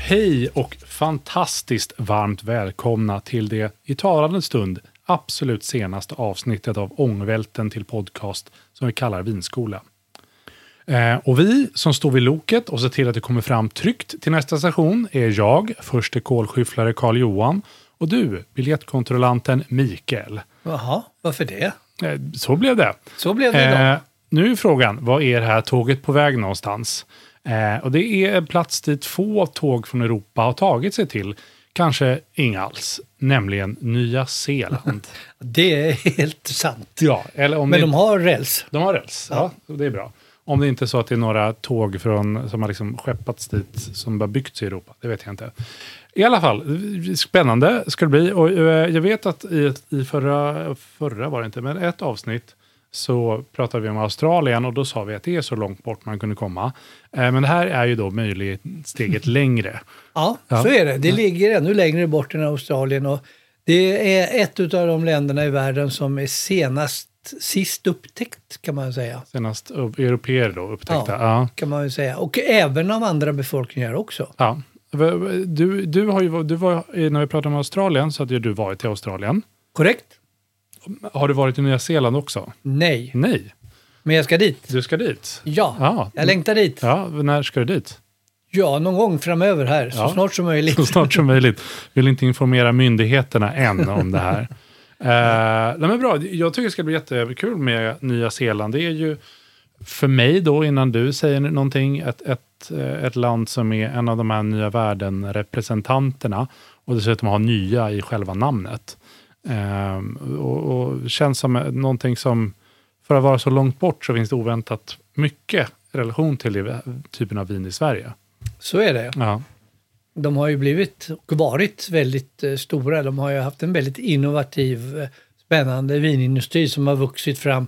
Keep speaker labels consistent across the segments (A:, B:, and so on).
A: Hej och fantastiskt varmt välkomna till det i talande stund absolut senaste avsnittet av Ångvälten till podcast som vi kallar Vinskola. Eh, och vi som står vid loket och ser till att det kommer fram tryggt till nästa station är jag, förste kolskyfflare Karl-Johan och du, biljettkontrollanten Mikael.
B: Jaha, varför det?
A: Eh, så blev det.
B: Så blev det idag.
A: Eh, nu är frågan, vad är det här tåget på väg någonstans? Eh, och det är en plats dit få tåg från Europa har tagit sig till. Kanske inga alls, nämligen Nya Zeeland.
B: Det är helt sant.
A: ja, eller om
B: Men
A: det,
B: de har räls.
A: de har räls. Ja. det är bra. Om det inte är så att det är några tåg från, som har liksom skeppats dit som har byggts i Europa. Det vet jag inte. I alla fall, spännande ska det bli. Och eh, jag vet att i, ett- i förra, förra var det inte, men ett avsnitt så pratade vi om Australien och då sa vi att det är så långt bort man kunde komma. Eh, Men det här är ju då möjligt steget längre.
B: Ja,
A: Ja.
B: så är det. Det ligger ännu längre bort än Australien och det är ett av de länderna i världen som är senast, sist upptäckt kan man säga.
A: Senast upp- europeer då upptäckta.
B: Ja.
A: Ja.
B: Kan man ju säga. Och även av andra befolkningar också.
A: Ja. V- v- Du, du har ju, du var, när vi pratade om Australien så hade ju du varit i Australien.
B: Korrekt?
A: Har du varit i Nya Zeeland också?
B: Nej,
A: Nej,
B: men jag ska dit.
A: du ska dit.
B: Ja,
A: Ja.
B: jag längtar dit. Ja.
A: Ja, när ska du dit?
B: någon gång framöver här, så
A: Ja.
B: snart som möjligt.
A: Så snart som möjligt. Vill inte informera myndigheterna än om det här. Eh, nej men bra, jag tycker det ska bli jättekul med Nya Zeeland. Det är ju för mig då, innan du säger någonting, ett, ett, eh, ett land som är en av de här nya världen-representanterna och dessutom har nya i själva namnet. Ehm, och, och känns som någonting som, för att vara så långt bort så finns det oväntat mycket relation till i typen av vin i Sverige.
B: Så är det.
A: Ja.
B: De har ju blivit och varit väldigt eh, stora. De har ju haft en väldigt innovativ, eh, spännande vinindustri som har vuxit fram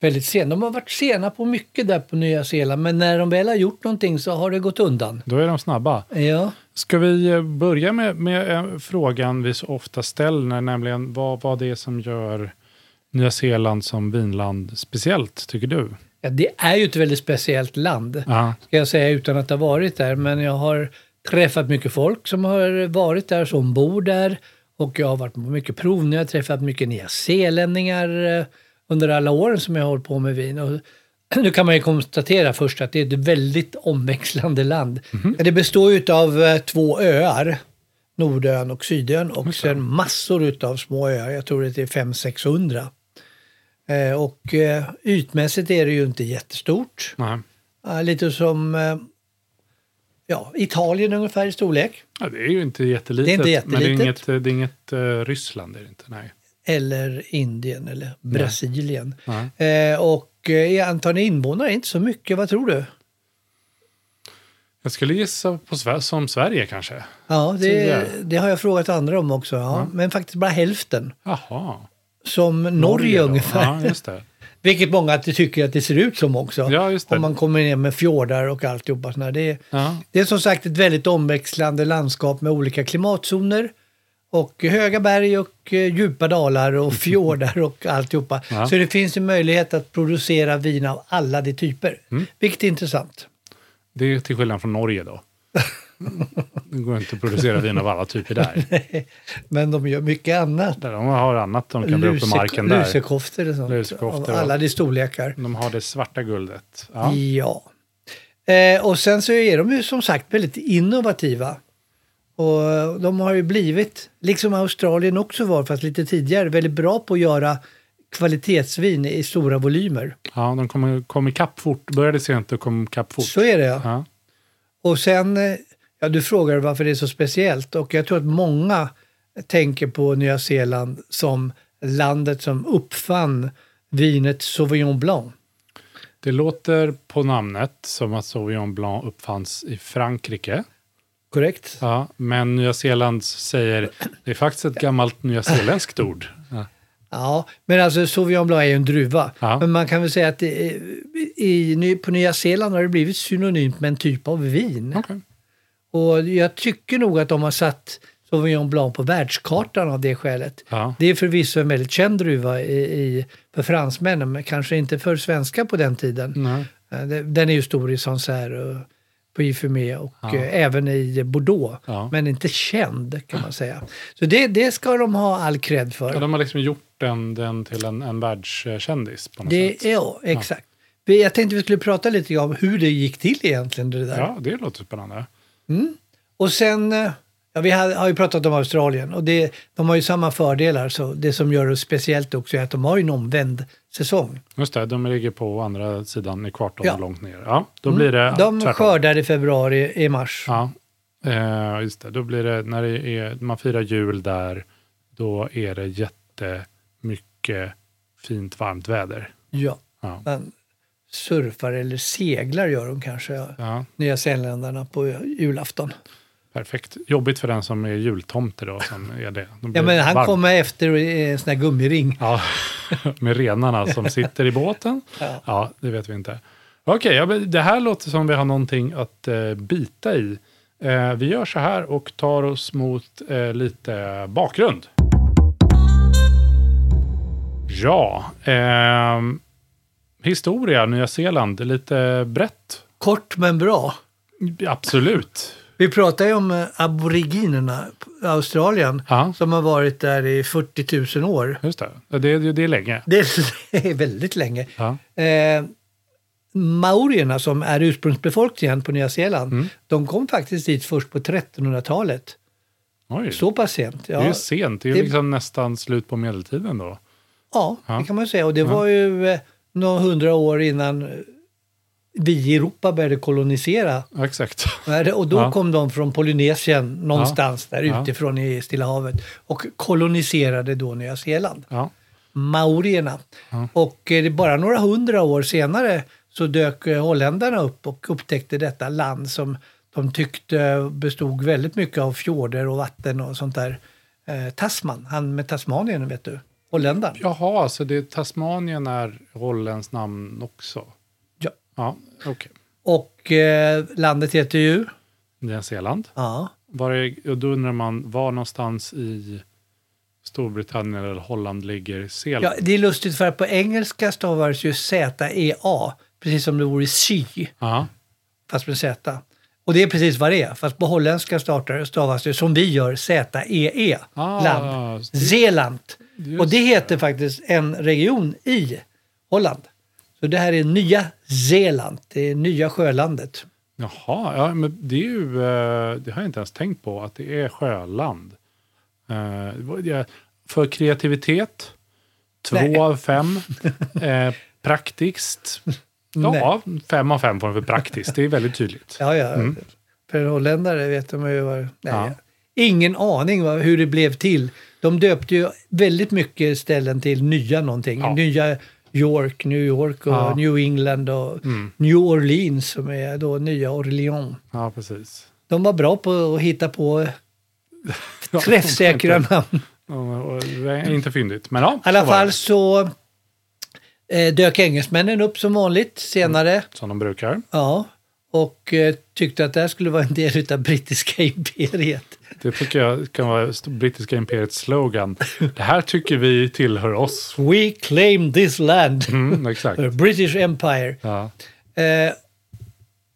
B: väldigt sent. De har varit sena på mycket där på Nya Zeeland, men när de väl har gjort någonting så har det gått undan.
A: Då är de snabba.
B: Ja,
A: Ska vi eh, börja med, med eh, frågan vi så ofta ställer, nämligen vad, vad det är som gör Nya Zeeland som vinland speciellt, tycker du?
B: ja det är ju ett väldigt speciellt land,
A: Ja,
B: ska jag säga, utan att ha varit där. Men jag har träffat mycket folk som har varit där, som bor där. Och jag har varit på mycket provningar, träffat mycket nyzeelänningar eh, under alla åren som jag har hållit på med vin. Och nu kan man ju konstatera först att det är ett väldigt omväxlande land. Det består ju av två öar, Nordön och Sydön, och sen massor utav små öar. Jag tror det är 500-600. Eh, Och eh, ytmässigt är det ju inte jättestort.
A: nej.
B: Ja, lite som eh, ja, Italien ungefär i storlek.
A: Ja, det är ju inte jättelitet,
B: Det är inte
A: men det är
B: jättelitet.
A: inget, eh, det är inget eh, Ryssland. Är det inte, nej.
B: eller Indien eller Brasilien.
A: Nej.
B: Eh, och eh, antalet invånare är inte så mycket, vad tror du?
A: Jag skulle gissa på Sver- som Sverige kanske.
B: Ja, det,
A: Tidigare.
B: det har jag frågat andra om också. Ja. Men faktiskt bara hälften.
A: Jaha.
B: Som Norge,
A: då.
B: ungefär.
A: Ja, just det.
B: Vilket många att- tycker att det ser ut som också.
A: Ja, just det.
B: Om man kommer ner med fjordar och alltihopa. sådär. Det, är-
A: Ja.
B: det är som sagt ett väldigt omväxlande landskap med olika klimatzoner. Och höga berg och eh, djupa dalar och fjordar och alltihopa.
A: Ja.
B: Så det finns ju möjlighet att producera vin av alla de typer.
A: Mm.
B: Vilket är intressant.
A: Det är till skillnad från Norge då. Det går inte att producera vin av alla typer där.
B: Men de gör mycket annat.
A: där de har annat de kan dra upp på
B: Lusek-
A: marken där.
B: Lusekoftor och sånt.
A: Lusekoftor,
B: av alla
A: ja.
B: de storlekar.
A: De har det svarta guldet. Ja.
B: Ja. Eh, och sen så är de ju som sagt väldigt innovativa. Och eh, de har ju blivit, liksom Australien också var, fast lite tidigare, väldigt bra på att göra kvalitetsvin i stora volymer.
A: Ja, de kom, kom ikapp fort. Började sent och kom ikapp fort.
B: Så är det ja.
A: Ja.
B: Och sen, eh, ja du frågar varför det är så speciellt och jag tror att många tänker på Nya Zeeland som landet som uppfann vinet Sauvignon Blanc.
A: Det låter på namnet som att Sauvignon Blanc uppfanns i Frankrike.
B: Korrekt?
A: Ja, men Nya Zeeland säger det är faktiskt ett gammalt nyzeeländskt ord. Ja.
B: Ja, men alltså Sauvignon Blanc är ju en druva.
A: Ja.
B: Men man kan väl säga att det, är- i, Ny- på Nya Zeeland har det blivit synonymt med en typ av vin.
A: Okej.
B: Och jag tycker nog att de har satt Sauvignon Blanc på världskartan av det skälet.
A: Ja.
B: Det är förvisso en väldigt känd druva i, i, för fransmännen, men kanske inte för svenskar på den tiden.
A: Nej.
B: Eh, det- Den är ju stor i Sancerre och på Ifumé och eh, även i Bordeaux,
A: Ja.
B: men inte känd kan man säga. Så det, det ska de ha all cred för.
A: Ja, de har liksom gjort den, den till en, en världskändis på något
B: Det,
A: sätt.
B: ja, exakt. Vi- Jag tänkte vi skulle prata lite grann om hur det gick till egentligen. Det där.
A: Ja, det låter spännande.
B: Och sen, eh, ja, vi har, har ju pratat om Australien och det, de har ju samma fördelar. Så det som gör det speciellt också är att de har ju en omvänd säsong.
A: Just det, de ligger på andra sidan i kvarton
B: Ja. Mm.
A: långt ner. Ja, då blir det
B: de
A: tvärtom.
B: skördar i februari, i mars.
A: Ja, eh, just det. Då blir det, när det är, man firar jul där, då är det jättemycket fint varmt väder.
B: Ja.
A: Ja.
B: Men surfar eller seglar gör de kanske, ja.
A: Ja,
B: Nya Zeeländarna på julafton.
A: perfekt. Jobbigt för den som är jultomte då, som är det. Då blir
B: Ja, men
A: det
B: han
A: varmt.
B: kommer efter eh, en sån här gummiring.
A: Ja, med renarna som sitter i båten.
B: Ja.
A: Ja, det vet vi inte. Okej, ja, men det här låter som vi har någonting att eh, bita i. Eh, vi gör så här och tar oss mot eh, lite bakgrund. Ja, ehm, historia, Nya Zeeland, lite brett.
B: Kort men bra.
A: Absolut.
B: Vi pratar ju om eh, aboriginerna, p- Australien,
A: Ja.
B: som har varit där i 40 000 år.
A: Just det, det, det, det är länge.
B: Det är väldigt länge.
A: Ja.
B: Eh, maorierna som är ursprungsbefolkningen på Nya Zeeland,
A: Mm.
B: de kom faktiskt dit först på 1300-talet.
A: Oj,
B: Så pass sent. Ja,
A: det är ju sent. Det är
B: det-
A: ju liksom nästan slut på medeltiden då.
B: ja,
A: Ja.
B: det kan man ju säga. Och det var ju eh, några hundra år innan eh, vi i Europa började kolonisera
A: Ja, Exakt.
B: världen. Och då
A: Ja.
B: kom de från Polynesien någonstans där
A: Ja.
B: utifrån i Stilla havet och koloniserade då Nya Zeeland.
A: Ja.
B: maorierna. Och eh, det är bara några hundra år senare så dök eh, holländarna upp och upptäckte detta land som de tyckte bestod väldigt mycket av fjorder och vatten och sånt där. Eh, Tasman, han med Tasmanien vet du, holländaren.
A: Jaha, så det Tasmanien är Hollands namn också?
B: Ja.
A: Ja, okej.
B: Och eh, landet heter ju...
A: Nya Zeeland.
B: Ja.
A: Var är, och då undrar man, var någonstans i Storbritannien eller Holland ligger
B: ja,
A: Zeeland?
B: det är lustigt för att på engelska stavas ju Z-E-A, precis som det vore SHE.
A: Ja.
B: fast med Z. Och det är precis vad det är, fast på holländska startar, stavas det som vi gör Z-E-E,
A: Ah,
B: land.
A: det-
B: Zeeland.
A: just
B: Och det heter faktiskt en region i Holland. Så det här är Nya Zeeland, det är Nya Sjölandet.
A: Jaha, ja, men det är ju, eh, det har jag inte ens tänkt på, att det är sjöland. Eh, vad- jag- För kreativitet, två
B: Nej.
A: av fem. Eh, praktiskt, ja, fem av fem får den för praktiskt. Det är väldigt tydligt.
B: Ja, ja. För holländare vet de ju vad... Nej,
A: Mm. Ja.
B: Ingen aning vad, hur det blev till. De döpte ju väldigt mycket ställen till nya någonting.
A: Ja.
B: Nya York, New York och
A: Ja. Mm.
B: New England och New Orleans som är då nya Orleans.
A: Ja, precis.
B: De var bra på att hitta på
A: Ja,
B: träffsäkra
A: inte-
B: namn.
A: Ja, och det är Inte fyndigt, men ja.
B: I alla
A: så var
B: fall
A: det.
B: så eh, dök engelsmännen upp som vanligt senare.
A: Som de brukar.
B: Ja, och eh, tyckte att det här skulle vara en del utav brittiska imperiet.
A: Det tycker jag kan vara st- brittiska imperiets slogan. Det här tycker vi tillhör oss.
B: We claim this land,
A: Mm, exakt.
B: the British Empire.
A: Ja.
B: Eh,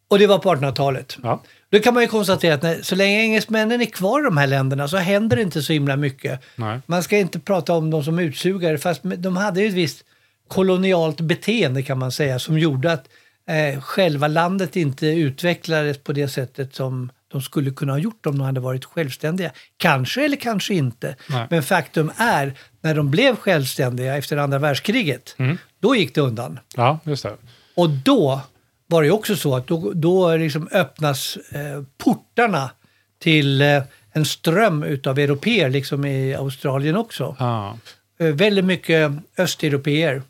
B: och det var på 1800-talet.
A: Ja.
B: Då kan man ju konstatera att när, så länge engelsmännen är kvar i de här länderna så händer det inte så himla mycket.
A: Nej.
B: Man ska inte prata om dem som utsugare, fast de hade ju ett visst kolonialt beteende kan man säga, som gjorde att eh, själva landet inte utvecklades på det sättet som de skulle kunna ha gjort om de hade varit självständiga. Kanske eller kanske inte.
A: Nej.
B: Men faktum är, när de blev självständiga efter andra världskriget,
A: Mm.
B: då gick det undan.
A: ja, just det.
B: Och då var det ju också så att då, då liksom öppnas eh, portarna till eh, en ström utav européer, liksom i Australien också.
A: Ja.
B: Eh, väldigt mycket östeuropéer.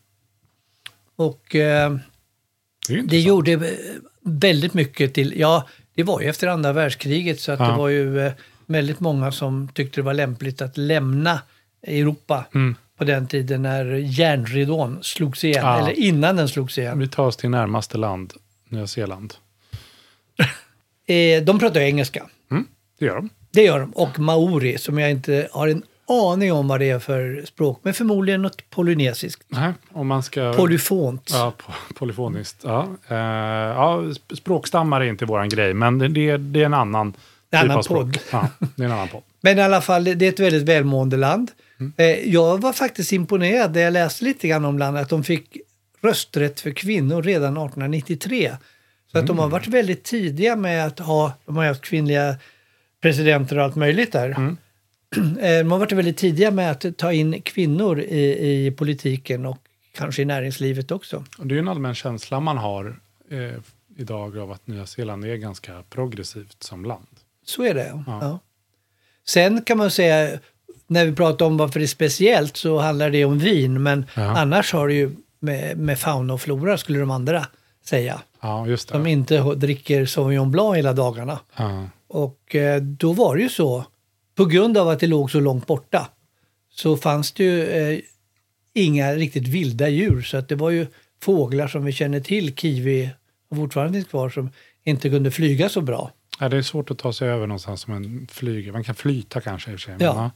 B: Och eh,
A: Det är ju inte
B: det gjorde eh, väldigt mycket till, ja, det var ju efter andra världskriget så att
A: Ja.
B: det var ju eh, väldigt många som tyckte det var lämpligt att lämna Europa
A: Mm.
B: på den tiden när järnridån slogs igen,
A: Ja.
B: eller innan den slogs igen.
A: Vi tar oss till närmaste land, Nya Zeeland.
B: Eh, de pratar ju engelska.
A: Mm, det gör de.
B: Det gör de. Och maori, som jag inte har en aning om vad det är för språk. Men förmodligen något polynesiskt.
A: Nej, om man ska...
B: Polyfont.
A: Ja, po- polyfoniskt. Ja. Eh, ja, sp- språkstammar är inte våran grej, men det, det, är- det är en annan typ
B: Det är en annan
A: språk.
B: podd.
A: Ja, det är en annan podd.
B: Men i alla fall, det är ett väldigt välmående land. Eh, jag var faktiskt imponerad när jag läste lite grann om landet. Att de fick rösträtt för kvinnor redan 1893. Så att de har varit väldigt tidiga med att ha, de har ju haft kvinnliga presidenter och allt möjligt där. Eh, De har varit väldigt tidiga med att ta in kvinnor i, i politiken och kanske i näringslivet också.
A: Och det är ju en allmän känsla man har eh, idag av att Nya Zeeland är ganska progressivt som land.
B: Så är det.
A: Ja.
B: Ja. Sen kan man säga, när vi pratar om varför det är speciellt så handlar det om vin, men
A: Ja.
B: annars har det ju med, med fauna och flora, skulle de andra säga.
A: Ja, just det.
B: De inte h- dricker Sauvignon Blanc hela dagarna.
A: ja.
B: Och eh, då var det ju så, på grund av att det låg så långt borta, så fanns det ju eh, inga riktigt vilda djur. Så att det var ju fåglar som vi känner till, kiwi, och fortfarande finns kvar, som inte kunde flyga så bra.
A: Ja, det är svårt att ta sig över någonstans som en flyger. Man kan flyta kanske i och för sig. men
B: Ja.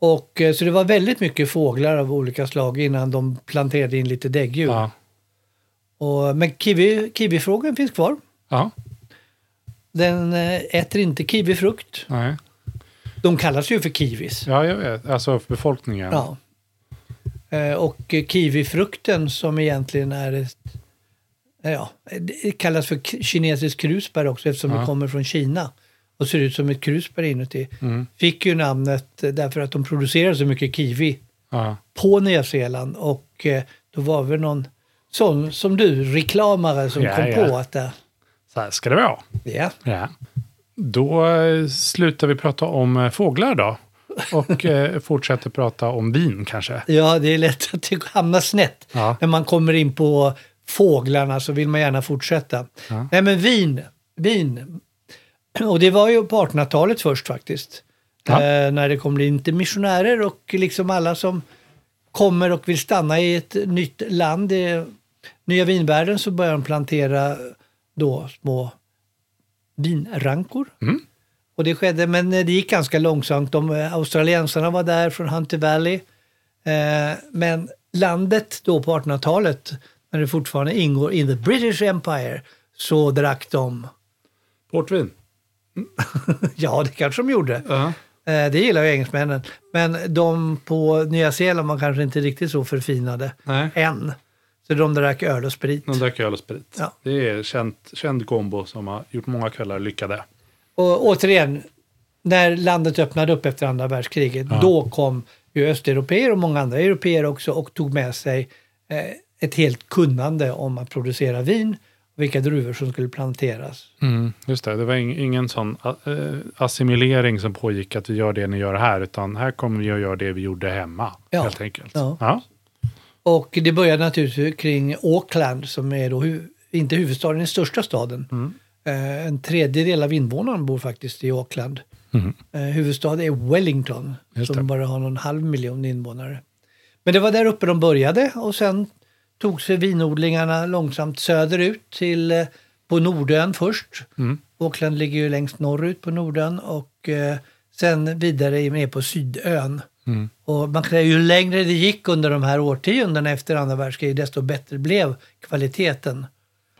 B: Och, eh, så det var väldigt mycket fåglar av olika slag innan de planterade in lite däggdjur.
A: ja.
B: Och, men kiwi, kiwifrågan finns kvar.
A: ja.
B: Den eh, äter inte kiwifrukt.
A: Nej.
B: De kallas ju för kiwis.
A: Ja, jag vet. Alltså för befolkningen.
B: Ja. Eh, Och eh, kiwifrukten som egentligen är ett, eh, ja, det kallas för k- kinesisk krusbär också eftersom
A: Ja.
B: det kommer från Kina och ser ut som ett krusbär inuti.
A: Mm.
B: Fick ju namnet eh, därför att de producerar så mycket kiwi.
A: Ja.
B: på Nya Zeeland och eh, då var väl någon sån som du, reklamare, som
A: Ja,
B: kom
A: ja.
B: på att det...
A: Så här ska det vara.
B: Ja,
A: Ja. Då eh, slutar vi prata om eh, fåglar då. Och eh, fortsätter prata om vin kanske.
B: ja, det är lätt att det hamnar snett.
A: Ja.
B: När man kommer in på fåglarna så vill man gärna fortsätta.
A: Ja.
B: Nej, men vin. Vin. Och det var ju på 1800-talet först faktiskt.
A: Ja.
B: Eh, när det kom in till missionärer och liksom alla som kommer och vill stanna i ett nytt land, i nya vinvärlden, så börjar de plantera då små vinrankor. Och det skedde, men eh, det gick ganska långsamt. De eh, australiensarna var där från Hunter Valley. Eh, men landet då på 1800-talet, när det fortfarande ingår i the British Empire, så drack de,
A: Portvin.
B: ja det kanske de gjorde,
A: Ja.
B: eh, det gillar ju engelsmännen, men de på Nya Zeeland var kanske inte riktigt så förfinade
A: Nej.
B: än. Så de drack öl och sprit.
A: De drack öl och sprit.
B: Ja.
A: Det är känt, känd kombo som har gjort många kvällar lyckade.
B: Och återigen, när landet öppnade upp efter andra världskriget, då kom ju östeuropeer och många andra europeer också och tog med sig eh, ett helt kunnande om att producera vin vilka druvor som skulle planteras.
A: Mm, just det, det var ing- ingen sån eh, assimilering som pågick att vi gör det ni gör här, utan här kommer vi att göra det vi gjorde hemma,
B: Ja.
A: helt enkelt.
B: Ja.
A: Ja.
B: Och det började naturligtvis kring Auckland som är då hu- inte huvudstaden, den största staden.
A: Mm.
B: Eh, En tredjedel av invånarna bor faktiskt i Auckland.
A: Mm.
B: Eh, Huvudstad är Wellington
A: Just det.
B: som bara har någon halv miljon invånare. Men det var där uppe de började och sen tog sig vinodlingarna långsamt söderut till eh, på Nordön först. Auckland ligger ju längst norrut på Nordön och eh, sen vidare ner på Sydön. Och man kan säga, ju längre det gick under de här årtiondena efter andra världskriget, desto bättre blev kvaliteten.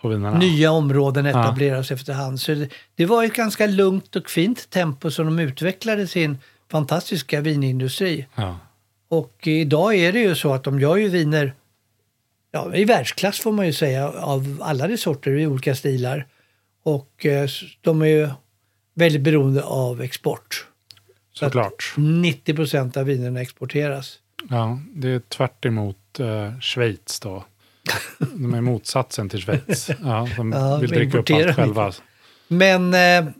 A: På vinerna.
B: Nya områden etableras efterhand. Så det, det var ett ganska lugnt och fint tempo som de utvecklade sin fantastiska vinindustri.
A: Ja.
B: Och idag är det ju så att de gör ju viner ja, i världsklass får man ju säga, av alla de sorter i olika stilar. Och eh, s- de är ju väldigt beroende av export. Så att-
A: Såklart.
B: 90 procent av vinerna exporteras.
A: Ja, det är tvärt emot eh, Schweiz då. De är motsatsen till Schweiz. Ja, de
B: Ja,
A: vill
B: de
A: dricka upp
B: importerar
A: allt själva.
B: Men, eh,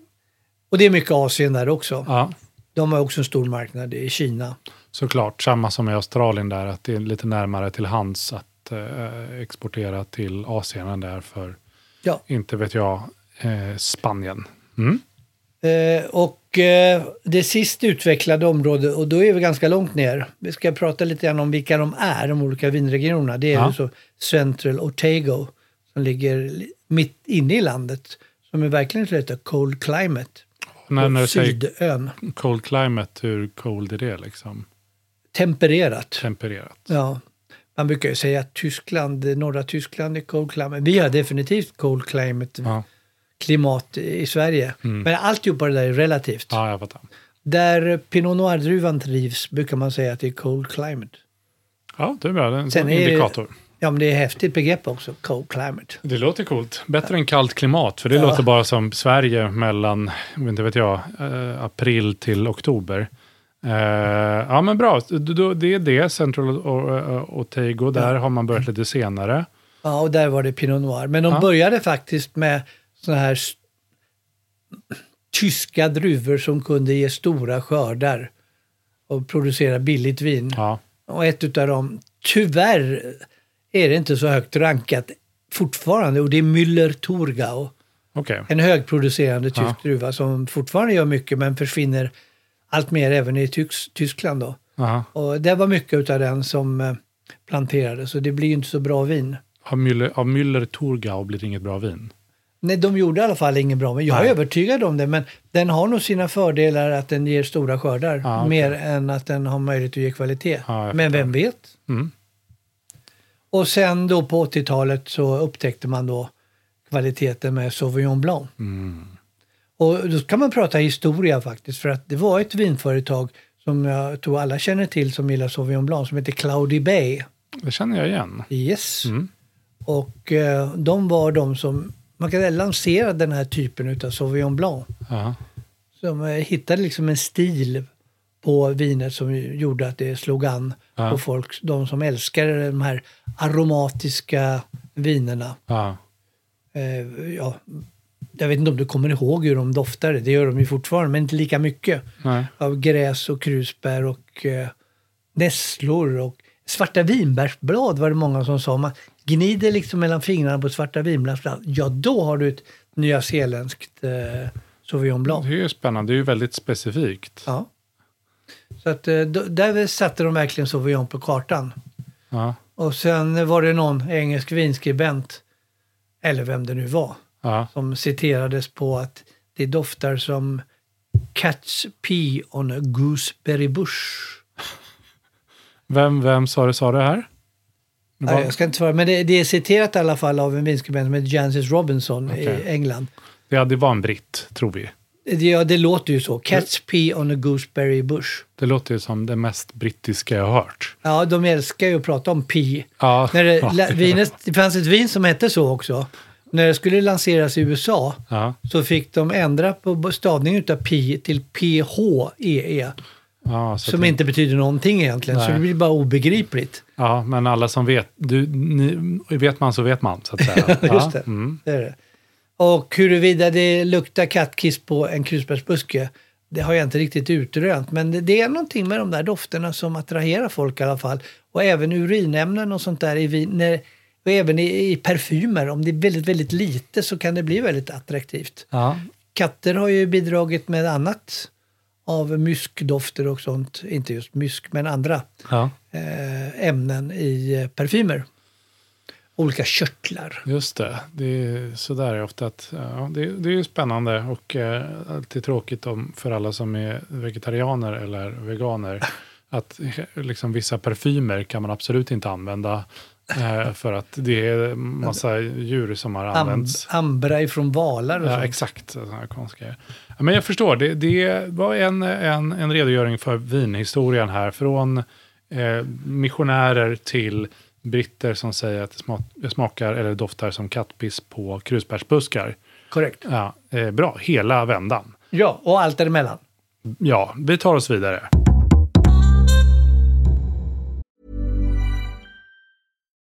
B: och det är mycket Asien där också.
A: Ja,
B: De har också en stor marknad i Kina.
A: såklart. Samma som i Australien där, att det är lite närmare till hands att eh, exportera till Asien än där för,
B: Ja.
A: inte vet jag, eh, Spanien. Mm.
B: Eh, och eh, det sist utvecklade området, och då är vi ganska långt ner. Vi ska prata lite grann om vilka de är, de olika vinregionerna. Det är
A: Ja.
B: ju så Central Otago som ligger li- mitt inne i landet. Som är verkligen skulle heta Cold Climate.
A: När, när du
B: och
A: säger
B: Sydön.
A: cold climate, hur cold är det liksom?
B: Tempererat.
A: Tempererat.
B: Ja. Man brukar ju säga att Tyskland, norra Tyskland är cold climate. Vi har definitivt cold climate
A: Ja, Mm.
B: klimat i Sverige. Men alltihopa det där är relativt.
A: ja jag fattar.
B: Där Pinot Noir-druvan trivs brukar man säga att det är cold climate.
A: Ja, det är bra. Det är en
B: Sen
A: sån
B: är det-
A: indikator.
B: Ja, men det är ett häftigt begrepp också, cold climate.
A: Det låter coolt. Bättre än kallt klimat, för det låter bara som Sverige mellan, inte vet jag, eh, april till oktober. Eh, ja men bra, Du- du- det är det, Central O- O- Otago, där har man börjat lite senare.
B: Ja, och där var det Pinot Noir. Men de
A: Ja.
B: började faktiskt med sådana här s- tyska druvor som kunde ge stora skördar och producera billigt vin.
A: Ja,
B: Och ett utav dem, tyvärr är det inte så högt rankat fortfarande och det är Müller Thurgau.
A: okej.
B: En högproducerande tysk
A: Ja.
B: druva som fortfarande gör mycket men försvinner allt mer även i Tyx- Tyskland. Då.
A: Aha.
B: Och det var mycket av den som eh, planterades så det blir ju inte så bra vin.
A: Av Müller, av Müller Torgau blir det inget bra vin.
B: Nej, de gjorde i alla fall inget bra, men jag är
A: Nej.
B: övertygad om det. Men den har nog sina fördelar att den ger stora skördar,
A: Ja, Ah, okej.
B: mer än att den har möjlighet att ge kvalitet.
A: Ja, jag
B: men vem vet?
A: Mm.
B: Och sen då på 80-talet så upptäckte man då kvaliteten med Sauvignon Blanc.
A: Mm.
B: Och då kan man prata historia faktiskt, för att det var ett vinföretag som jag tror alla känner till som gillar Sauvignon Blanc, som heter Cloudy Bay.
A: Det känner jag igen.
B: Yes.
A: Mm.
B: Och eh, de var de som man kan säga, lanserade den här typen utav Sauvignon Blanc.
A: Ja.
B: Som eh, hittade liksom en stil på vinet som ju gjorde att det slog an
A: Ja.
B: på folk, de som älskade de här aromatiska vinerna.
A: Ja.
B: Eh, ja, jag vet inte om du kommer ihåg hur de doftade, det gör de ju fortfarande, men inte lika mycket.
A: Nej.
B: Av gräs och krusbär och eh, nässlor och svarta vinbärsblad var det många som sa. Man gnider liksom mellan fingrarna på svarta vinbärsblad, ja då har du ett nyzeeländskt eh, Sauvignon Blanc.
A: Det är ju spännande, det är ju väldigt specifikt.
B: Ja. Så att, eh, då, där satte de verkligen Sauvignon på kartan.
A: Ja.
B: Och sen var det någon engelsk vinskribent, eller vem det nu var,
A: Ja.
B: som citerades på att det doftar som catch pee on a gooseberry bush.
A: Vem, vem sa det, sa det här? Det
B: Nej,
A: var,
B: jag ska inte svara, men det, det är citerat i alla fall av en vinskribent som heter Jancis Robinson
A: Okej.
B: i England.
A: ja, det var en britt, tror vi.
B: Det, ja, det låter ju så. Catch pee on a gooseberry bush.
A: Det låter ju som det mest brittiska jag har hört.
B: Ja, de älskar ju att prata om pee.
A: Ja,
B: När
A: ja,
B: det, la, vinet, det fanns ett vin som hette så också. När det skulle lanseras i USA
A: ja.
B: E så fick de ändra på stavningen utav pi till PHEE.
A: Ja, så att
B: som
A: det-
B: inte betyder någonting egentligen. Så
A: Nej.
B: det blir bara obegripligt.
A: ja, men alla som vet, du, ni, vet man så vet man, så att säga.
B: Just det.
A: Ja, mm.
B: det, är det. Och huruvida det luktar kattkiss på en krusbärsbuske, det har jag inte riktigt utrönt. Men det, det är någonting med de där dofterna som attraherar folk i alla fall. Och även urinämnen och sånt där i viner, och även i, i parfymer. Om det är väldigt, väldigt lite så kan det bli väldigt attraktivt.
A: Ja.
B: Katter har ju bidragit med annat av myskdofter och sånt. Inte just mysk, men andra
A: ja,
B: eh, ämnen i eh, parfymer. Olika körtlar.
A: just det. Det är sådär ofta att, ja, det, det är ju spännande och eh, alltid tråkigt om, för alla som är vegetarianer eller veganer. Att eh, liksom, vissa parfymer kan man absolut inte använda eh, för att det är massa djur som har
B: Am-
A: använts.
B: Ambra ifrån valar och
A: Ja,
B: sånt.
A: exakt. Sådana här konstiga. Ja, men jag förstår, det, det var en, en, en redogöring för vinhistorien här. Från eh, missionärer till britter som säger att det sma- smakar eller doftar som kattpiss på krusbärsbuskar.
B: Korrekt.
A: Ja, eh, bra, hela vändan.
B: Ja, och allt däremellan.
A: Ja, vi tar oss vidare.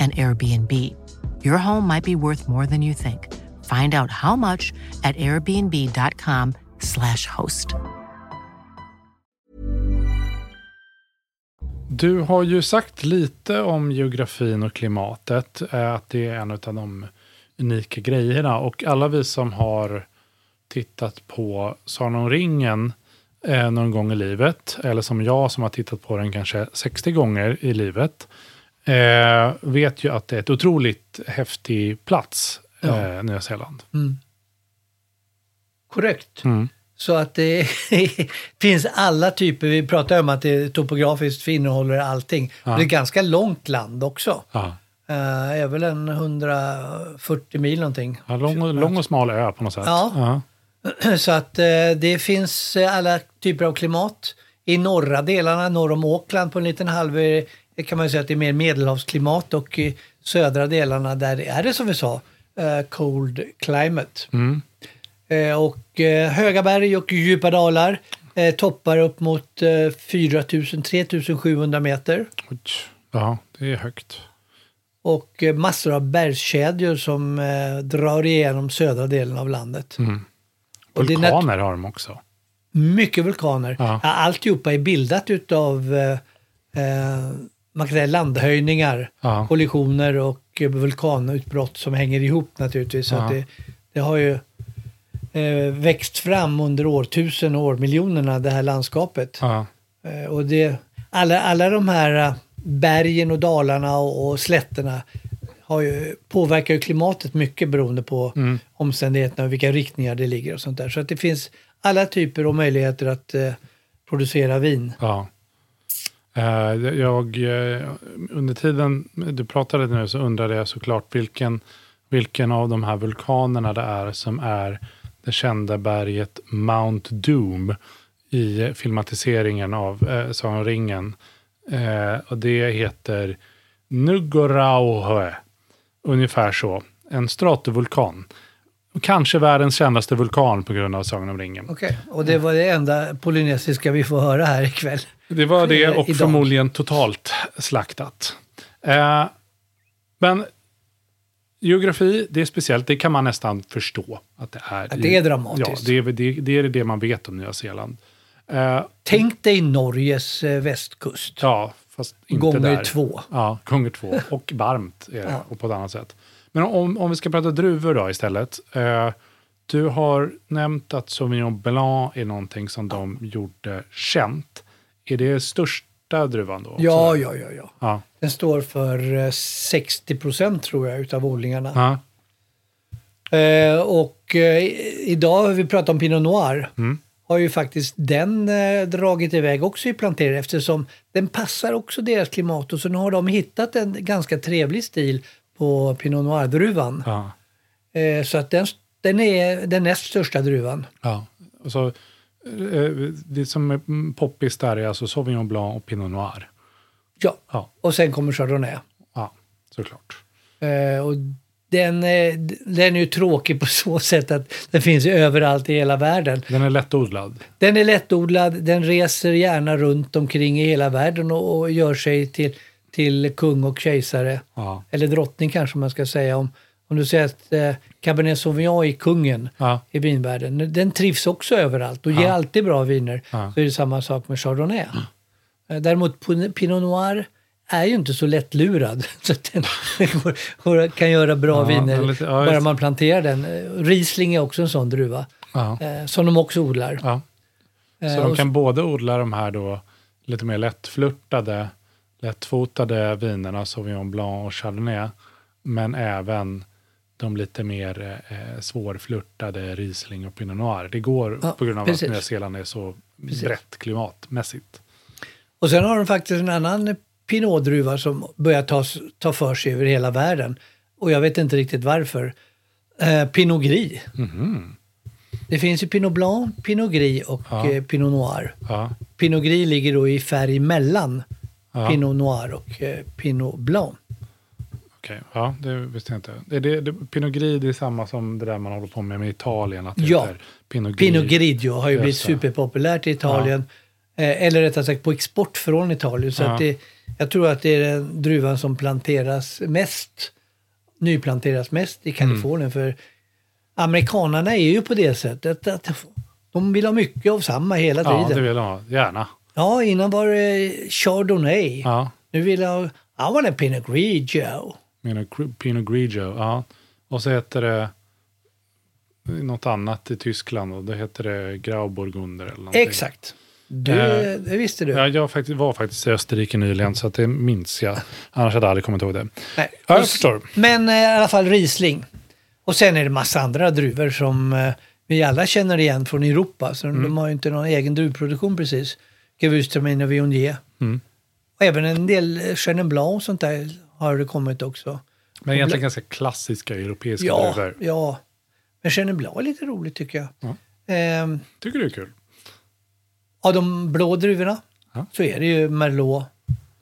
C: an Airbnb. Your home might be worth more than you think. Find out how much at airbnb.com/slash host.
A: Du har ju sagt lite om geografin och klimatet, eh, att det är en av de unika grejerna. Och alla vi som har tittat på Sagan om ringen eh, någon gång i livet, eller som jag som har tittat på den kanske 60 gånger i livet, eh, vet ju att det är ett otroligt häftig plats, eh, Nya Zeeland.
B: Mm. Korrekt.
A: Mm.
B: Så att det finns alla typer. Vi pratar om att det är topografiskt innehåller allting. Och det är ganska långt land också.
A: Ja.
B: Eh, Det är väl en 140 mil någonting.
A: Ja, lång, och- lång och smal ö på något sätt.
B: Ja. Så att eh, det finns eh, alla typer av klimat. I norra delarna, norr om Auckland på en liten halvö eh, kan man ju säga att det är mer medelhavsklimat och i södra delarna där det är det som vi sa, eh, cold climate. Eh, Och eh, höga berg och djupa dalar. Eh, toppar upp mot eh, 4000, 3700 meter.
A: Oj, Ja, det är högt.
B: Och eh, massor av bergskedjor som eh, drar igenom södra delen av landet. Och det är nat-
A: Vulkaner har de också.
B: Mycket vulkaner.
A: Ja.
B: Ja. Alltihopa är bildat utav eh, eh, man kan säga landhöjningar,
A: Ja.
B: kollisioner och eh, vulkanutbrott som hänger ihop naturligtvis. Så
A: Ja.
B: att det, det har ju eh, växt fram under årtusen och årmiljonerna, det här landskapet.
A: Ja.
B: Eh, och det, alla, alla de här eh, bergen och dalarna och, och slätterna har ju, påverkar ju klimatet mycket beroende på omständigheterna och vilka riktningar det ligger och sånt där. Så att det finns alla typer och möjligheter att eh, producera vin.
A: Ja. Eh, Jag, eh, under tiden du pratade nu så undrade jag såklart vilken, vilken av de här vulkanerna det är som är det kända berget Mount Doom i filmatiseringen av eh, Sagan om ringen. Eh, och det heter Nugorauhö, ungefär så. En stratovulkan. Kanske världens kändaste vulkan på grund av Sagan om ringen.
B: Okej, och det var det enda polynesiska vi får höra här ikväll.
A: Det var det
B: Eh,
A: och
B: idag.
A: förmodligen totalt slaktat. Eh, men geografi, det är speciellt. Det kan man nästan förstå att det är.
B: Att det är dramatiskt.
A: Ja, det är väl- det, det är det man vet om Nya Zeeland. Eh,
B: Tänk dig Norges eh, västkust.
A: ja, fast inte
B: Gånger
A: där.
B: två.
A: Ja, gånger två. Och varmt är det,
B: Ja.
A: och på ett annat sätt. Men om, om vi ska prata druvor då istället. Eh, du har nämnt att Sauvignon Blanc är någonting som de gjorde känt. Är det största druvan då?
B: Ja, ja, ja, ja.
A: Ja.
B: Den står för eh, 60 procent tror jag utav odlingarna.
A: Ja,
B: Eh, och eh, i- idag, vi pratar om Pinot Noir, har ju faktiskt den eh, dragit iväg också i plantering eftersom den passar också deras klimat och så nu har de hittat en ganska trevlig stil på Pinot Noir-druvan.
A: ja,
B: Eh, så att den, den är den näst största druvan.
A: ja. Och så, eh, det som är mm, poppis där är alltså Sauvignon Blanc och Pinot Noir.
B: Ja.
A: Ja.
B: Och sen kommer Chardonnay.
A: Ja, såklart.
B: Eh, och den, eh, d- den är ju tråkig på så sätt att den finns ju överallt i hela världen.
A: Den är lättodlad.
B: Den är lättodlad, den reser gärna runt omkring i hela världen och, och gör sig till, till kung och kejsare.
A: Ja.
B: Eller drottning kanske man ska säga. Om, om du säger att eh, Cabernet Sauvignon är kungen
A: Ja.
B: i vinvärlden. Den trivs också överallt och ger alltid bra viner. Så är det samma sak med Chardonnay. Eh, Däremot Pin- Pinot Noir är ju inte så lättlurad. Så att den går- går- kan göra bra
A: Ja,
B: viner
A: lite- ja,
B: bara
A: just-
B: man planterar den. Eh, Riesling är också en sån druva
A: Ja.
B: eh, som de också odlar.
A: Ja. Så
B: Eh,
A: de
B: och
A: kan både odla de här då lite mer lättflörtade, lättfotade vinerna, Sauvignon Blanc och Chardonnay, men även de lite mer eh, svårflörtade Riesling och Pinot Noir. Det går
B: Ja,
A: på grund av
B: precis.
A: att Nya Zeeland är så brett klimatmässigt.
B: Och sen har de faktiskt en annan pinotdruva som börjar ta, ta för sig över hela världen. Och jag vet inte riktigt varför. Eh, Pinot Gris. Det finns ju Pinot Blanc, Pinot Gris och
A: Mhm. Ja.
B: eh, Pinot Noir.
A: Ja,
B: Pinot Gris ligger då i färg mellan
A: Ja.
B: Pinot Noir och eh, Pinot Blanc.
A: okej. Ja, det visste jag inte. Det, det, det, Pinot Gris det är samma som det där man håller på med med Italien. Att det
B: Ja.
A: heter Pinot Gris.
B: Pinot Grigio har ju blivit
A: Just det.
B: superpopulärt i Italien. Eh, eller rättare sagt på export från Italien. Så
A: Ja.
B: att det, jag tror att det är den druvan som planteras mest, nyplanteras mest
A: Mm.
B: i Kalifornien. För amerikanarna är ju på det sättet att de vill ha mycket av samma hela
A: Ja, det
B: tiden.
A: vill jag ha. Gärna.
B: Ja, innan var det Chardonnay.
A: Ja.
B: Nu vill jag ha, I want a Pinot Grigio.
A: Menar Gr- Pinot Grigio, ja. Och så heter det något annat i Tyskland och då heter det Grauburgunder eller någonting.
B: Exakt. Du,
A: Eh,
B: det visste du.
A: Ja, jag faktiskt, var faktiskt i Österrike nyligen så att det minns jag. Annars hade jag aldrig kommit ihåg det.
B: Nej.
A: Ja,
B: Och
A: jag
B: s-
A: förstår.
B: Men eh, i alla fall Riesling. Och sen är det massa andra druvor som eh, vi alla känner igen från Europa. Så
A: Mm.
B: de har ju inte någon egen druvproduktion precis. Gewürztraminer och Viognier.
A: Mm.
B: Och även en del eh, Chenin Blanc och sånt där har det kommit också.
A: Men egentligen ganska klassiska europeiska
B: Ja,
A: druvor.
B: ja. Men Chenin Blanc är lite roligt tycker jag.
A: Ja.
B: Ehm,
A: Tycker du det är kul?
B: av de blå druvorna
A: Ja.
B: så är det ju Merlot,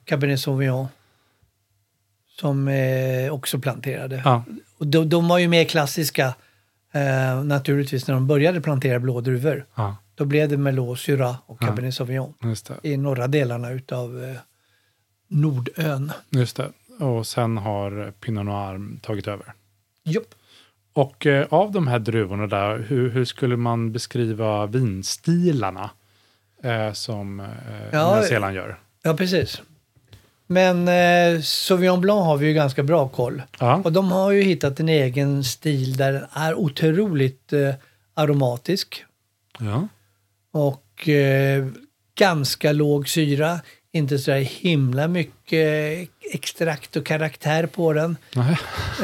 B: Cabernet Sauvignon som är också planterade.
A: Ja.
B: Och de, de var ju mer klassiska eh, naturligtvis när de började plantera blådruvor.
A: ja.
B: Då blev det Merlot, Syrah och Cabernet Sauvignon
A: Just det.
B: i norra delarna utav eh, Nordön.
A: Just det. Och sen har Pinot Noir tagit över.
B: Japp.
A: Och eh, av de här druvorna där, hur, hur skulle man beskriva vinstilarna eh, som eh,
B: Ja,
A: Nya Zeeland gör?
B: Ja, precis. Men eh, Sauvignon Blanc har vi ju ganska bra koll.
A: Ja,
B: Och de har ju hittat en egen stil där den är otroligt eh, aromatisk
A: ja.
B: och eh, ganska låg syra. Inte så där himla mycket eh, extrakt och karaktär på den.
A: Nej.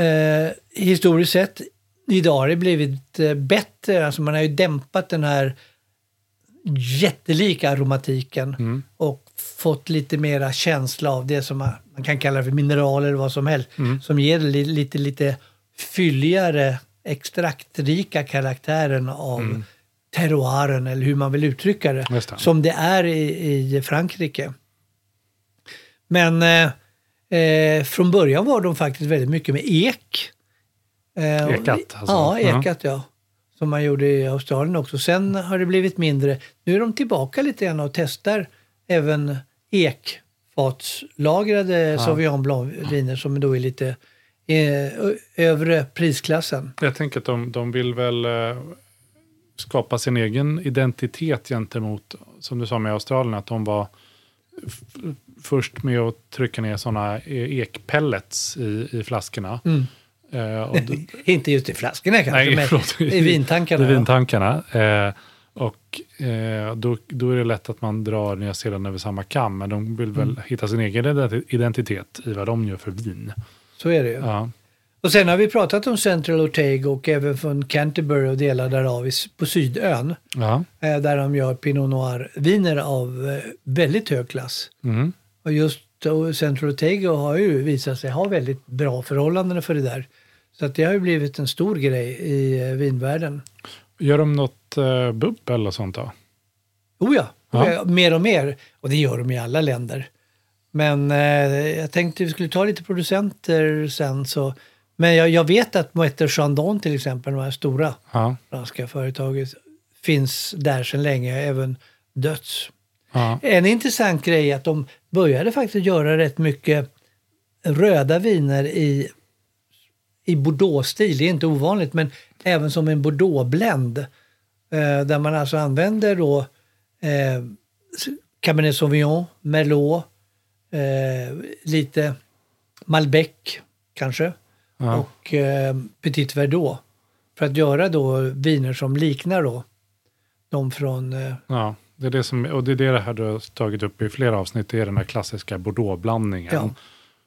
B: Eh, historiskt sett, idag har det blivit eh, bättre. Alltså man har ju dämpat den här jättelika aromatiken
A: Mm.
B: och fått lite mera känsla av det som man, man kan kalla för mineraler eller vad som helst.
A: Mm.
B: Som ger li, lite, lite fylligare, extraktrika karaktären av terroiren eller hur man vill uttrycka det.
A: Mm. Just det.
B: Som det är i, i Frankrike. Men eh, eh, från början var de faktiskt väldigt mycket med ek. Eh, och-
A: Ekat, alltså.
B: Ja,
A: Ja.
B: ekat ja. Som man gjorde i Australien också. Sen har det blivit mindre. Nu är de tillbaka lite grann och testar även ekfatslagrade Sauvignon Blanc-viner som då är lite eh, ö- övre prisklassen.
A: Jag tänker att de, de vill väl eh, skapa sin egen identitet gentemot, som du sa med Australien, att de var f- först med att trycka ner sådana ekpellets i, i flaskorna.
B: Mm.
A: Eh, och d-
B: Inte just i flaskorna kanske,
A: Nej,
B: men
A: förlåt.
B: i vintankarna.
A: I
B: ja.
A: vintankarna. Eh, och eh, då, då är det lätt att man drar Nya Zeeland över samma kam, men de vill
B: Mm.
A: väl hitta sin egen identi- identitet i vad de gör för vin.
B: Så är det ju.
A: Ja,
B: Och sen har vi pratat om Central Otago och även från Canterbury och delar därav i s- på Sydön.
A: ja.
B: eh, Där de gör Pinot Noir-viner av eh, väldigt hög klass.
A: Mm.
B: Och just eh, Central Otago har ju visat sig ha väldigt bra förhållanden för det där. Så att det har ju blivit en stor grej i eh, vinvärlden.
A: Gör de något eh, bubbel och sånt då?
B: Oh ja,
A: Ja.
B: eh, mer och mer. Och det gör de i alla länder. Men eh, jag tänkte vi skulle ta lite producenter sen. Så. Men jag, jag vet att Moët Chandon till exempel, de här stora
A: Ja,
B: franska företaget, finns där sedan länge, även döds.
A: ja.
B: En intressant grej är att de började faktiskt göra rätt mycket röda viner i, i Bordeaux-stil. Det är inte ovanligt, men även som en Bordeaux-blend. Eh, där man alltså använder då eh, Cabernet Sauvignon, Merlot, eh, lite Malbec kanske och eh, Petit Verdot. För att göra då viner som liknar då de från eh,
A: ja. Det är det som, och det är det här du har tagit upp i flera avsnitt, det är den här klassiska Bordeaux-blandningen.
B: Ja.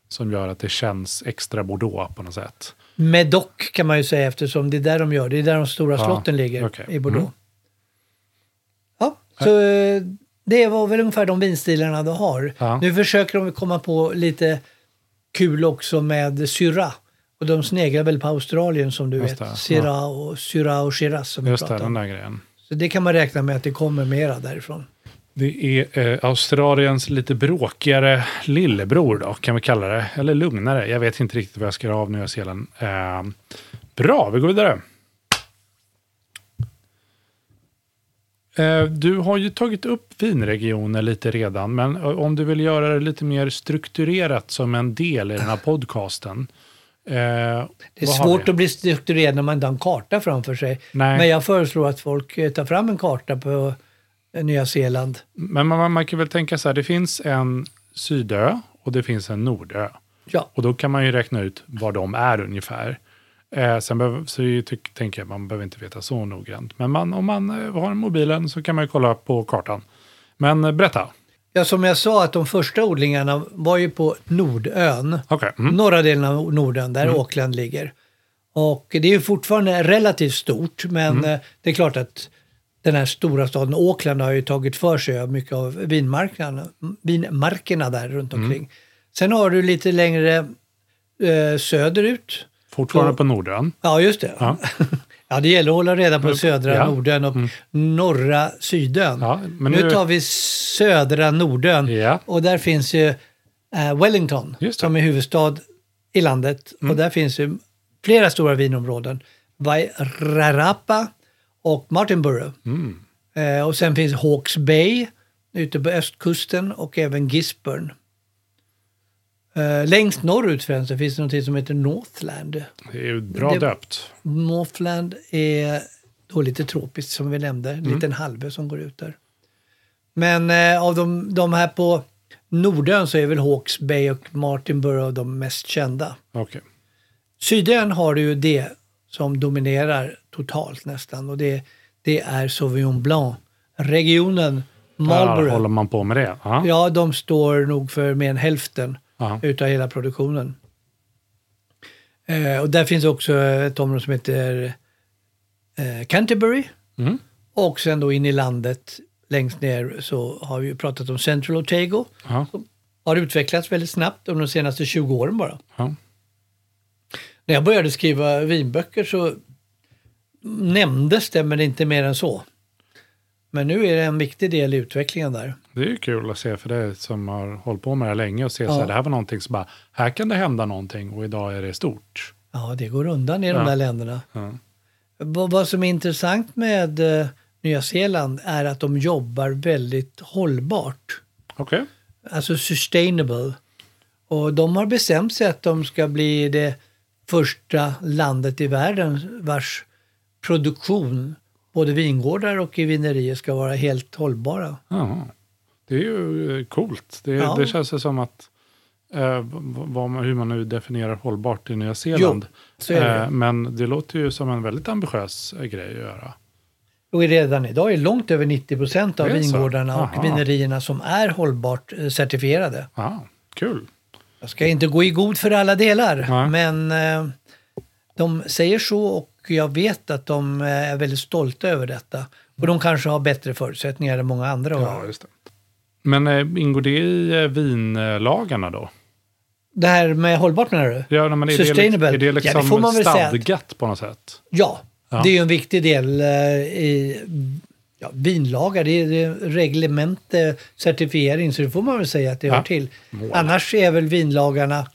A: Som gör att det känns extra Bordeaux på något sätt.
B: Medoc kan man ju säga eftersom det är där de gör. Det är där de stora
A: Ja,
B: slotten ligger
A: okej.
B: i Bordeaux.
A: Mm.
B: Ja, så eh, det var väl ungefär de vinstilarna de har.
A: Ja.
B: Nu försöker de komma på lite kul också med Syrah. Och de sneglar väl på Australien som du
A: Just
B: vet.
A: det, ja.
B: Syrah, och, Syrah och Shiraz som vi
A: Just det,
B: pratar
A: den
B: om.
A: där grejen.
B: Så det kan man räkna med att det kommer mera därifrån.
A: Det är eh, Australiens lite bråkigare lillebror då, kan vi kalla det. Eller lugnare. Jag vet inte riktigt vad jag ska göra av Nya Zeeland. Eh, bra, vi går vidare. Eh, du har ju tagit upp vinregioner lite redan, men eh, om du vill göra det lite mer strukturerat som en del i den här podcasten. Eh,
B: Det är svårt att bli strukturerad när man inte har en karta framför sig.
A: Nej.
B: Men jag föreslår att folk eh, tar fram en karta på eh, Nya Zeeland.
A: Men man, man kan väl tänka så här, det finns en sydö och det finns en nordö.
B: Ja.
A: Och då kan man ju räkna ut var de är ungefär. Eh, sen behöver, så jag tyck, tänker jag, man behöver inte veta så noggrant. Men man, om man eh, har mobilen så kan man ju kolla på kartan. Men eh, berätta.
B: Ja, som jag sa att de första odlingarna var ju på Nordön.
A: Okej. Mm.
B: Norra delen av Norden, där Auckland ligger. Och det är ju fortfarande relativt stort, men
A: Mm.
B: eh, det är klart att den här stora staden Auckland har ju tagit för sig av mycket av vinmarknaden, vinmarkerna där runt
A: Mm.
B: omkring. Sen har du lite längre eh, söderut.
A: Fortfarande
B: Så-
A: på Nordön.
B: Ja, just det.
A: Ja.
B: Ja. det gäller att hålla reda på södra
A: ja. Mm.
B: Nordön och norra Sydön.
A: Ja, men
B: nu...
A: nu-
B: tar vi södra Nordön
A: Ja.
B: och där finns ju eh, Wellington
A: Just det. Mm.
B: som är huvudstad i landet och där finns ju
A: Mm.
B: flera stora vinområden. Wairarapa och Martinborough. Eh, och sen finns Hawks Bay ute på östkusten och även Gisborne. Eh, längst norrut Svensson, finns det något som heter Northland.
A: Det är ju bra
B: Det-
A: döpt.
B: Northland är då lite tropiskt som vi nämnde,
A: Mm.
B: en liten halvö som går ut där. Men eh, av de, de här på Nordön så är väl Hawks Bay och Martinborough de mest kända.
A: Okej.
B: Sydön har du ju det som dominerar totalt nästan och det, det är Sauvignon Blanc-regionen
A: Där håller
B: Marlborough.
A: man på med det. Ja.
B: Ja, de står nog för mer än hälften
A: Ja.
B: utav hela produktionen. Eh, och där finns också ett område som heter eh, Canterbury.
A: Mm.
B: Och sen då in i landet längst ner så har vi ju pratat om Central Otago.
A: Ja.
B: Har utvecklats väldigt snabbt under de senaste 20 åren bara.
A: Ja.
B: När jag började skriva vinböcker så nämndes det, men inte mer än så. Men nu är det en viktig del i utvecklingen där.
A: Det är ju kul att se för dig som har hållit på med det här länge och se
B: Ja.
A: så här, det här var någonting som bara, här kan det hända någonting och idag är det stort.
B: Ja, det går undan i
A: Ja.
B: de där länderna.
A: Ja.
B: Vad vad som är intressant med eh, Nya Zeeland är att de jobbar väldigt hållbart.
A: Okej.
B: alltså sustainable. Och de har bestämt sig att de ska bli det första landet i världen vars produktion, både vingårdar och i vinerier, ska vara helt hållbara.
A: Ja. Det är ju eh, coolt. Det,
B: Ja.
A: det känns ju som att eh, vad, vad man- hur man nu definierar hållbart i Nya Zeeland. Eh,
B: så är det.
A: men det låter ju som en väldigt ambitiös eh, grej att göra.
B: Och redan idag är långt över 90 procent av
A: Det är så?
B: vingårdarna och
A: Aha.
B: vinerierna som är hållbart eh, certifierade.
A: Ja, kul.
B: Jag ska inte gå i god för alla delar,
A: Nej.
B: men eh, de säger så och jag vet att de eh, är väldigt stolta över detta. Och de kanske har bättre förutsättningar än många andra. har.
A: Ja, just det. Men eh, ingår det i eh, vinlagarna då?
B: Det här med hållbart menar du?
A: Ja, men är det, liksom,
B: Sustainable.
A: är det
B: Ja, det
A: liksom
B: får man väl säga att-
A: stadgat på något sätt?
B: Ja,
A: Ja.
B: det är ju en viktig del eh, i ja, vinlagar. Det är det är reglemente, certifiering, så det får man väl säga att det
A: Ja.
B: hör till. Annars är väl vinlagarna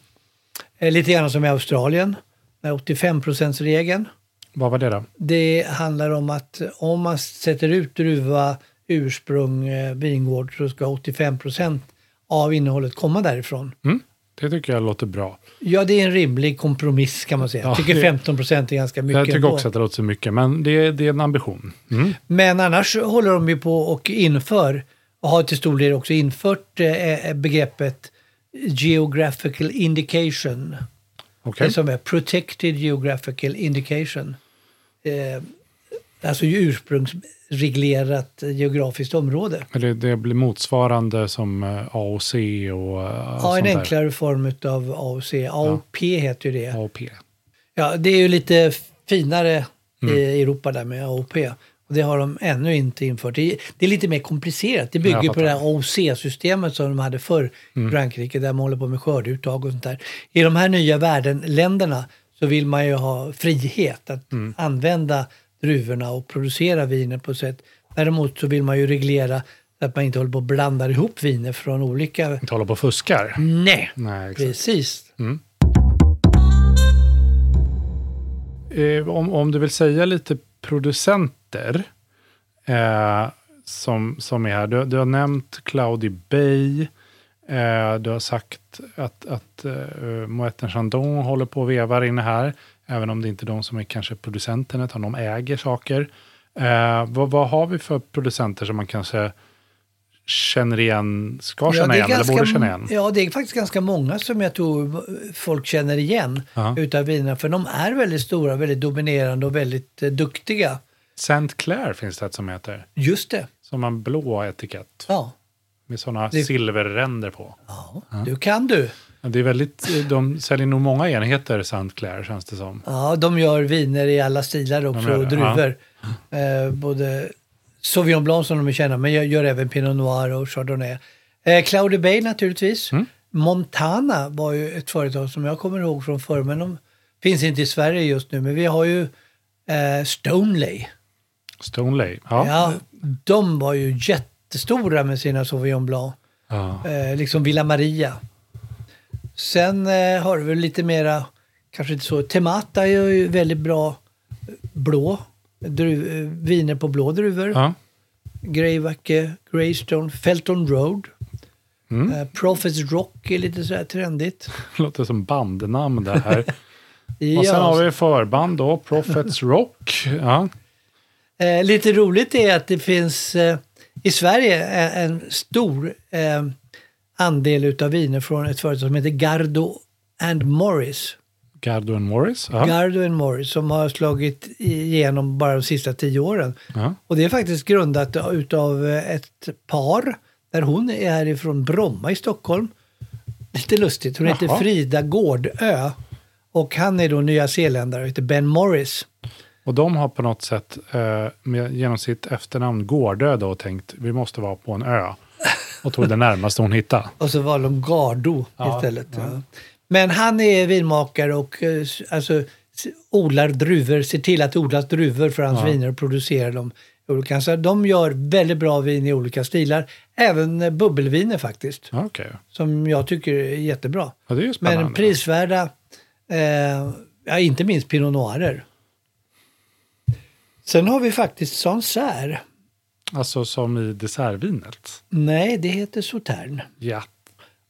B: eh, lite grann som i Australien, med 85%-regeln.
A: Vad var det då?
B: Det handlar om att om man sätter ut druva, ursprung, eh, vingård så ska 85% av innehållet komma därifrån.
A: Mm? Det tycker jag låter bra.
B: Ja, det är en rimlig kompromiss kan man säga.
A: Ja,
B: jag tycker
A: det-
B: 15 procent är ganska mycket.
A: jag tycker
B: ändå.
A: också att det låter så mycket, men det, är- det är en ambition. Mm.
B: Men annars håller de ju på och inför, och har till stor del också infört eh, begreppet geographical indication.
A: Okej.
B: Det som är protected geographical indication. Eh, alltså ju ursprungsreglerat geografiskt område.
A: Men Det, det blir motsvarande som eh, A och C och eh,
B: Ja, en
A: sånt där.
B: enklare form av AOC. AOP heter ju det.
A: A och P.
B: Ja, det är ju lite finare
A: Mm.
B: i Europa där med AOP. Och det har de ännu inte infört. Det är, det är lite mer komplicerat. Det bygger
A: Jag
B: ju på det
A: fattar. Mm.
B: här OC-systemet som de hade förr i Frankrike, där man håller på med skördeuttag och sånt där. I de här nya värdenländerna så vill man ju ha frihet att
A: Mm.
B: använda druvorna och producera viner på ett sätt. Däremot så vill man ju reglera att man inte håller på och blandar ihop viner från olika...
A: Inte hålla på och fuskar.
B: Nej,
A: Nej, exakt.
B: precis.
A: Eh, om, om du vill säga lite producenter eh, som, som är här. Du, du har nämnt Cloudy Bay. Eh, du har sagt att, att eh, Moët Chandon håller på och vevar inne här. Även om det inte är de som är kanske producenterna, utan de äger saker. Eh, vad, vad har vi för producenter som man kanske känner igen, ska
B: Ja,
A: känna
B: det är
A: igen eller
B: ganska-
A: borde känna igen?
B: Ja, det är faktiskt ganska många som jag tror folk känner igen
A: Ja.
B: utav vinerna. För de är väldigt stora, väldigt dominerande och väldigt eh, duktiga.
A: Saint Clair finns det ett som heter.
B: Just det.
A: Som har en blå etikett
B: Ja.
A: med sådana
B: Det-
A: silverränder på.
B: ja. Du kan du.
A: Ja, Det är väldigt, de säljer nog många enheter, Saint Clair, känns det som.
B: Ja, de gör viner i alla stilar också
A: gör
B: och
A: det, ja.
B: druvor. Eh, både Sauvignon Blanc som de är kända, men jag gör även Pinot Noir och Chardonnay. Eh, Cloudy Bay naturligtvis.
A: Mm.
B: Montana var ju ett företag som jag kommer ihåg från förr, men de finns inte i Sverige just nu. Men vi har ju eh, Stoneley.
A: Stoneley. Ja.
B: Ja, de var ju jättestora med sina Sauvignon Blanc.
A: Ja.
B: Eh, liksom Villa Maria. Sen eh, har vi lite mera, kanske inte så, Temata är ju väldigt bra eh, blå, dru, eh, viner på blå druvor.
A: Ja.
B: Greybacke, Greystone, Felton Road.
A: Mm.
B: Eh, Prophets Rock är lite sådär trendigt.
A: Låter som bandnamn det här.
B: Ja,
A: Och sen har vi förband då, Prophets Rock. Ja.
B: eh, lite roligt är att det finns eh, i Sverige eh, en stor eh, andel utav viner från ett företag som heter Gardo and Morris.
A: Gardo and Morris. Ja.
B: Gardo and Morris som har slagit igenom bara de sista tio åren.
A: Ja.
B: Och det är faktiskt grundat utav eh, ett par där hon är härifrån Bromma i Stockholm. Lite lustigt, hon heter
A: Jaha.
B: Frida Gårdö och han är då nyzeeländare och heter Ben Morris.
A: Och de har på något sätt eh, med, genom sitt efternamn Gårdö då tänkt vi måste vara på en ö. Och tog det närmaste hon hittade.
B: Och så valde de Gardo
A: Ja,
B: istället. Ja. Men han är vinmakare och eh, s- alltså, s- odlar druvor, ser till att det odlas druvor för hans viner och producerar dem. i Olika. Så de gör väldigt bra vin i olika stilar, även eh, bubbelviner faktiskt,
A: Ja, Okej,
B: som jag tycker är jättebra.
A: ja, det är ju spännande.
B: Men prisvärda, eh, ja, inte minst Pinot Noirer. Sen har vi faktiskt Sancerre.
A: Alltså som i dessertvinet.
B: Nej, det heter Sautern.
A: Ja.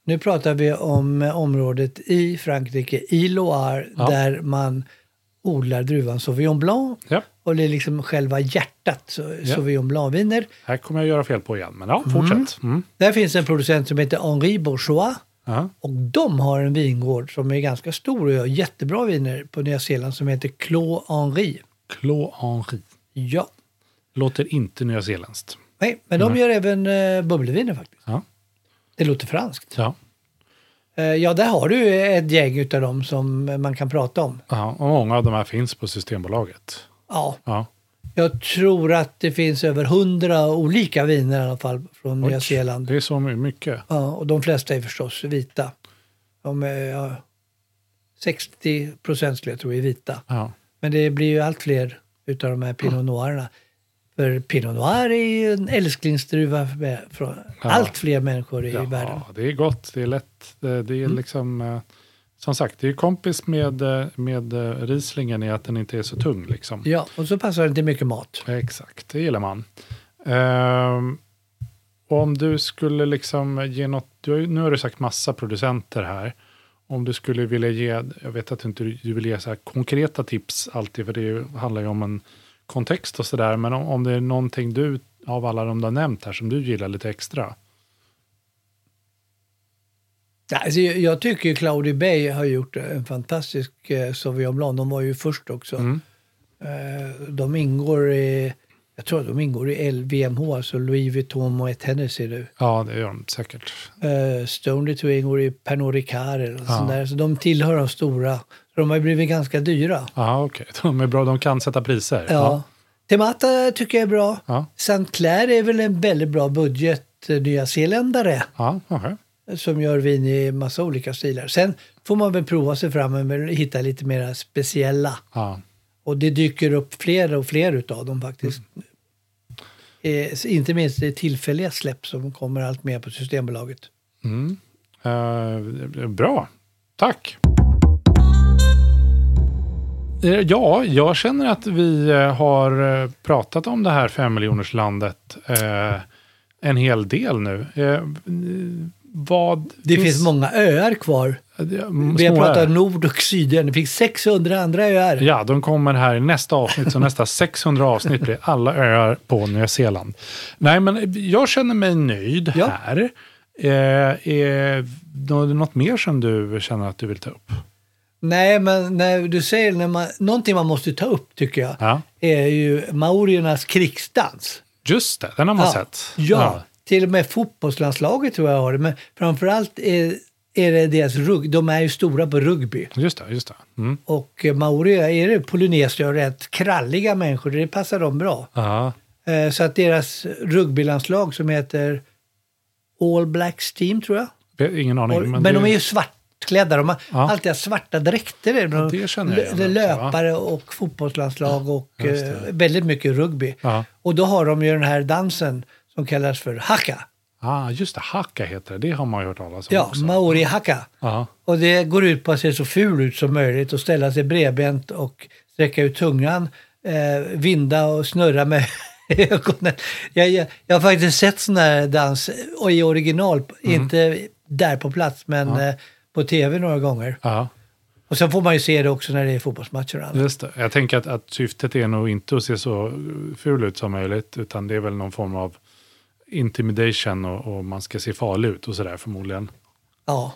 B: Nu pratar vi om eh, området i Frankrike, i Loire,
A: Ja.
B: där man odlar druvan Sauvignon Blanc.
A: ja,
B: Och det är liksom själva hjärtat, så,
A: Ja.
B: Sauvignon Blanc-viner.
A: här kommer jag göra fel på igen. Men ja, fortsätt. Mm.
B: Där finns en producent som heter Henri Bourgeois.
A: Ja.
B: Och de har en vingård som är ganska stor och gör jättebra viner på Nya Zeeland som heter Clos Henri.
A: Clos Henri.
B: Ja.
A: Låter inte nyzeeländskt.
B: Nej, men de gör även eh, bubbelviner faktiskt.
A: Mm. Ja.
B: Det låter franskt.
A: Ja.
B: Eh, ja, där har du ett gäng utav dem som eh, man kan prata om.
A: ja, och många av de här finns på Systembolaget.
B: Ja,
A: Ja,
B: Jag tror att det finns över hundra olika viner i alla fall från Nya Zeeland.
A: det är så my- mycket.
B: Ja, och de flesta är förstås vita. De är, ja, 60 procent skulle jag tro är vita.
A: Ja.
B: Men det blir ju allt fler utav de här Pinot Noirerna. För Pinot Noir är ju en älsklingsdruva för- från
A: Ja.
B: allt fler människor i världen.
A: Ja, det är gott, det är lätt. Det, det är liksom, eh, som sagt, det är ju kompis med, eh, med eh, Rieslingen i att den inte är så tung. Liksom.
B: Ja, och så passar den till mycket mat.
A: Exakt, det gillar man. Ehm, och om du skulle liksom ge något, du har, ju- nu har du sagt massa producenter här. Om du skulle vilja ge, jag vet att du inte du vill ge så här konkreta tips alltid, för det är ju- handlar ju om en kontext och sådär, men om, om det är någonting du, av alla de du har nämnt här, som du gillar lite extra.
B: Ja, Alltså, jag jag tycker ju Claudie Bay har gjort en fantastisk eh, Sauvignon Blanc. De var ju först också. Eh, de ingår i, jag tror att de ingår i LVMH, alltså Louis Vuitton och ett Hennessy nu.
A: Ja, det gör de säkert.
B: Eh, Stoney tror jag ingår i Pernod Ricard eller något
A: Ja.
B: sånt där. Så de tillhör de stora. Så de har ju blivit ganska dyra.
A: Ja, okej. De är bra, de kan sätta priser.
B: Ja. Temata tycker jag är bra.
A: Ja,
B: St. Clair är väl en väldigt bra budget eh, nyzeeländare.
A: ja, okej.
B: som gör vin i massa olika stilar. Sen får man väl prova sig fram och hitta lite mer speciella.
A: ja.
B: Och det dyker upp fler och fler utav dem faktiskt.
A: Mm.
B: Eh, s- inte minst det tillfälliga släpp som kommer allt mer på Systembolaget.
A: Eh, bra, tack. Eh, Ja, jag känner att vi eh, har eh, pratat om det här femmiljonerslandet eh, en hel del nu. Eh, n- vad eh,
B: Det finns många öar kvar.
A: många.
B: Vi har pratat nord och sydö. Det finns 600 andra öar.
A: Ja, de kommer här i nästa avsnitt, så nästa 600 avsnitt blir alla öar på Nya Zeeland. Nej, men jag känner mig nöjd
B: Ja.
A: här. Eh, är nå- något mer som du känner att du vill ta upp?
B: Nej, men när du säger när man, någonting man måste ta upp tycker jag
A: Ja.
B: är ju maoriernas krigsdans.
A: Just det, den har man
B: ja.
A: sett.
B: Ja, till och med fotbollslandslaget tror jag har det. Men framförallt är, är det deras rugby. De är ju stora på rugby.
A: Ja, Just det, just det. Mm.
B: Och eh, maorier är det polynesier och rätt kralliga människor. Det passar dem bra.
A: Ja.
B: Eh, Så att deras rugbylandslag som heter All Blacks Team tror jag.
A: Ingen aning.
B: Och-
A: men
B: men
A: det-
B: de är ju svartklädda. De har
A: Ja.
B: alltid haft svarta dräkter. De,
A: det känner jag igen också,
B: löpare och fotbollslandslag och
A: Just
B: eh, väldigt mycket rugby.
A: Ja.
B: Och då har de ju den här dansen som kallas för haka.
A: Ah, just det, haka heter det. Det har man ju hört talas om
B: Ja,
A: också.
B: maori haka.
A: Ja,
B: Och det går ut på att se så ful ut som möjligt och ställa sig bredbent och sträcka ut tungan, eh, vinda och snurra med ögonen. Jag, jag, jag har faktiskt sett sån här dans och i original, inte där på plats, men eh, på tv några gånger.
A: Ja,
B: Och sen får man ju se det också när det är fotbollsmatcher och annat.
A: just det. Jag tänker att, att syftet är nog inte att se så ful ut som möjligt, utan det är väl någon form av intimidation och, och man ska se farlig ut och sådär förmodligen.
B: Ja.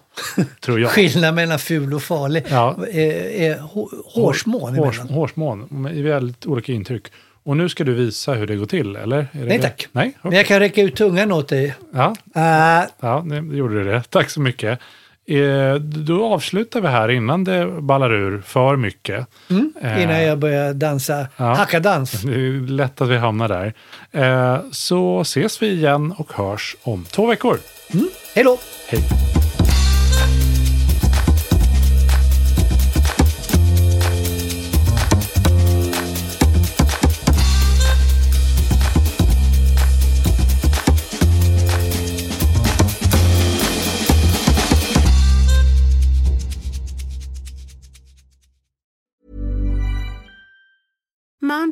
A: Tror jag.
B: Skillnaden mellan ful och farlig
A: Ja.
B: är, är hå- hårsmån
A: Hårs,
B: emellan.
A: hårsmån, med väldigt olika intryck. Och nu ska du visa hur det går till, eller? Är det
B: Nej
A: det?
B: tack.
A: Nej?
B: Men jag kan räcka ut tungan åt dig.
A: Ja,
B: Ah,
A: ja, nu gjorde du det. Tack så mycket. Eh, då avslutar vi här innan det ballar ur för mycket. Eh,
B: innan jag börjar dansa
A: Ja.
B: hackadans.
A: Det är lätt att vi hamnar där. Eh, så ses vi igen och hörs om två veckor.
B: Hej då!
A: Hej!
D: Mom